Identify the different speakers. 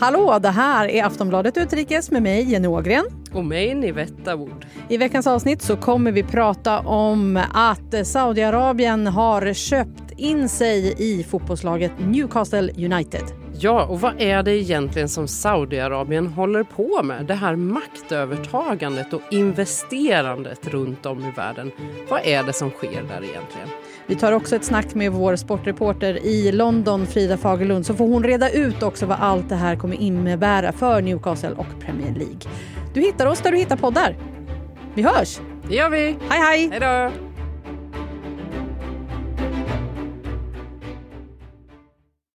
Speaker 1: Hallå, det här är Aftonbladet Utrikes med mig, Jenny Ågren.
Speaker 2: Och mig Nivetta Wood.
Speaker 1: I veckans avsnitt så kommer vi prata om att Saudiarabien har köpt in sig i fotbollslaget Newcastle United.
Speaker 2: Ja, och vad är det egentligen som Saudiarabien håller på med? Det här maktövertagandet och investerandet runt om i världen. Vad är det som sker där egentligen?
Speaker 1: Vi tar också ett snack med vår sportreporter i London, Frida Fagerlund, så får hon reda ut också vad allt det här kommer innebära för Newcastle och Premier League. Du hittar oss där du hittar poddar. Vi hörs!
Speaker 2: Det gör vi!
Speaker 1: Hej, hej!
Speaker 2: Hej då!